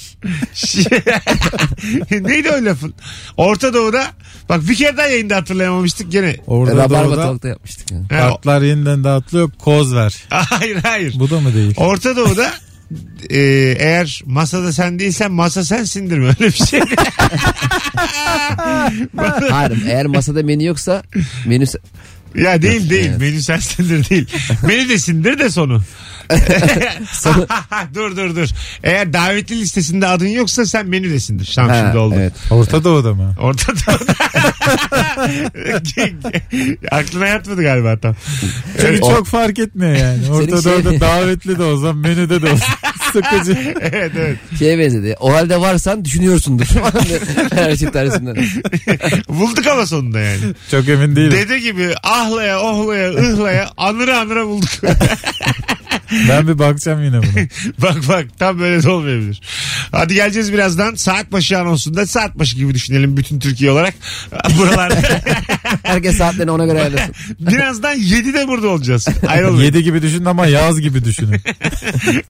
S3: Şiş.
S2: [laughs] Neydi o lafın? Orta Doğu'da bak bir kere daha yayında hatırlayamamıştık gene.
S4: Orada
S3: Rabarba
S4: doğuda
S3: Talk'ta yapmıştık. Yani.
S2: Ha, o- [laughs]
S4: atlar yeniden dağıtılıyor. Koz ver.
S2: hayır hayır.
S4: Bu da mı değil?
S2: Orta Doğu'da e, eğer masada sen değilsen masa sensindir mi? Öyle bir şey. [laughs]
S3: Hayır eğer masada menü yoksa menü...
S2: Ya değil değil. Menü sensindir değil. Menü de sindir de sonu. [laughs] dur dur dur. Eğer davetli listesinde adın yoksa sen menü desindir. Şam
S3: Ha,
S2: şimdi oldu.
S3: Evet.
S4: Orta Doğu'da mı?
S2: Orta Doğu'da. [laughs] Aklına yatmadı galiba tam.
S4: Çünkü çok fark etmiyor yani. Orta
S3: şey-
S4: Doğu'da davetli de olsam menüde
S3: [laughs]
S4: de olsam sıkıcı.
S2: Evet evet.
S3: Şeye benzedi. O halde varsan düşünüyorsundur. [laughs] Her şey tersinden.
S2: Bulduk ama sonunda yani.
S4: Çok emin değilim.
S2: Dede gibi ahlaya ohlaya ıhlaya anıra anıra bulduk.
S4: Ben bir bakacağım yine buna.
S2: [laughs] bak bak tam böyle de olmayabilir. Hadi geleceğiz birazdan. Saat başı anonsunda saat başı gibi düşünelim bütün Türkiye olarak. Buralarda. [laughs]
S3: Herkes saatlerini ona göre ayarlasın.
S2: birazdan 7'de burada olacağız. Ayrılmayın.
S4: Yedi gibi düşünün ama yaz gibi düşünün.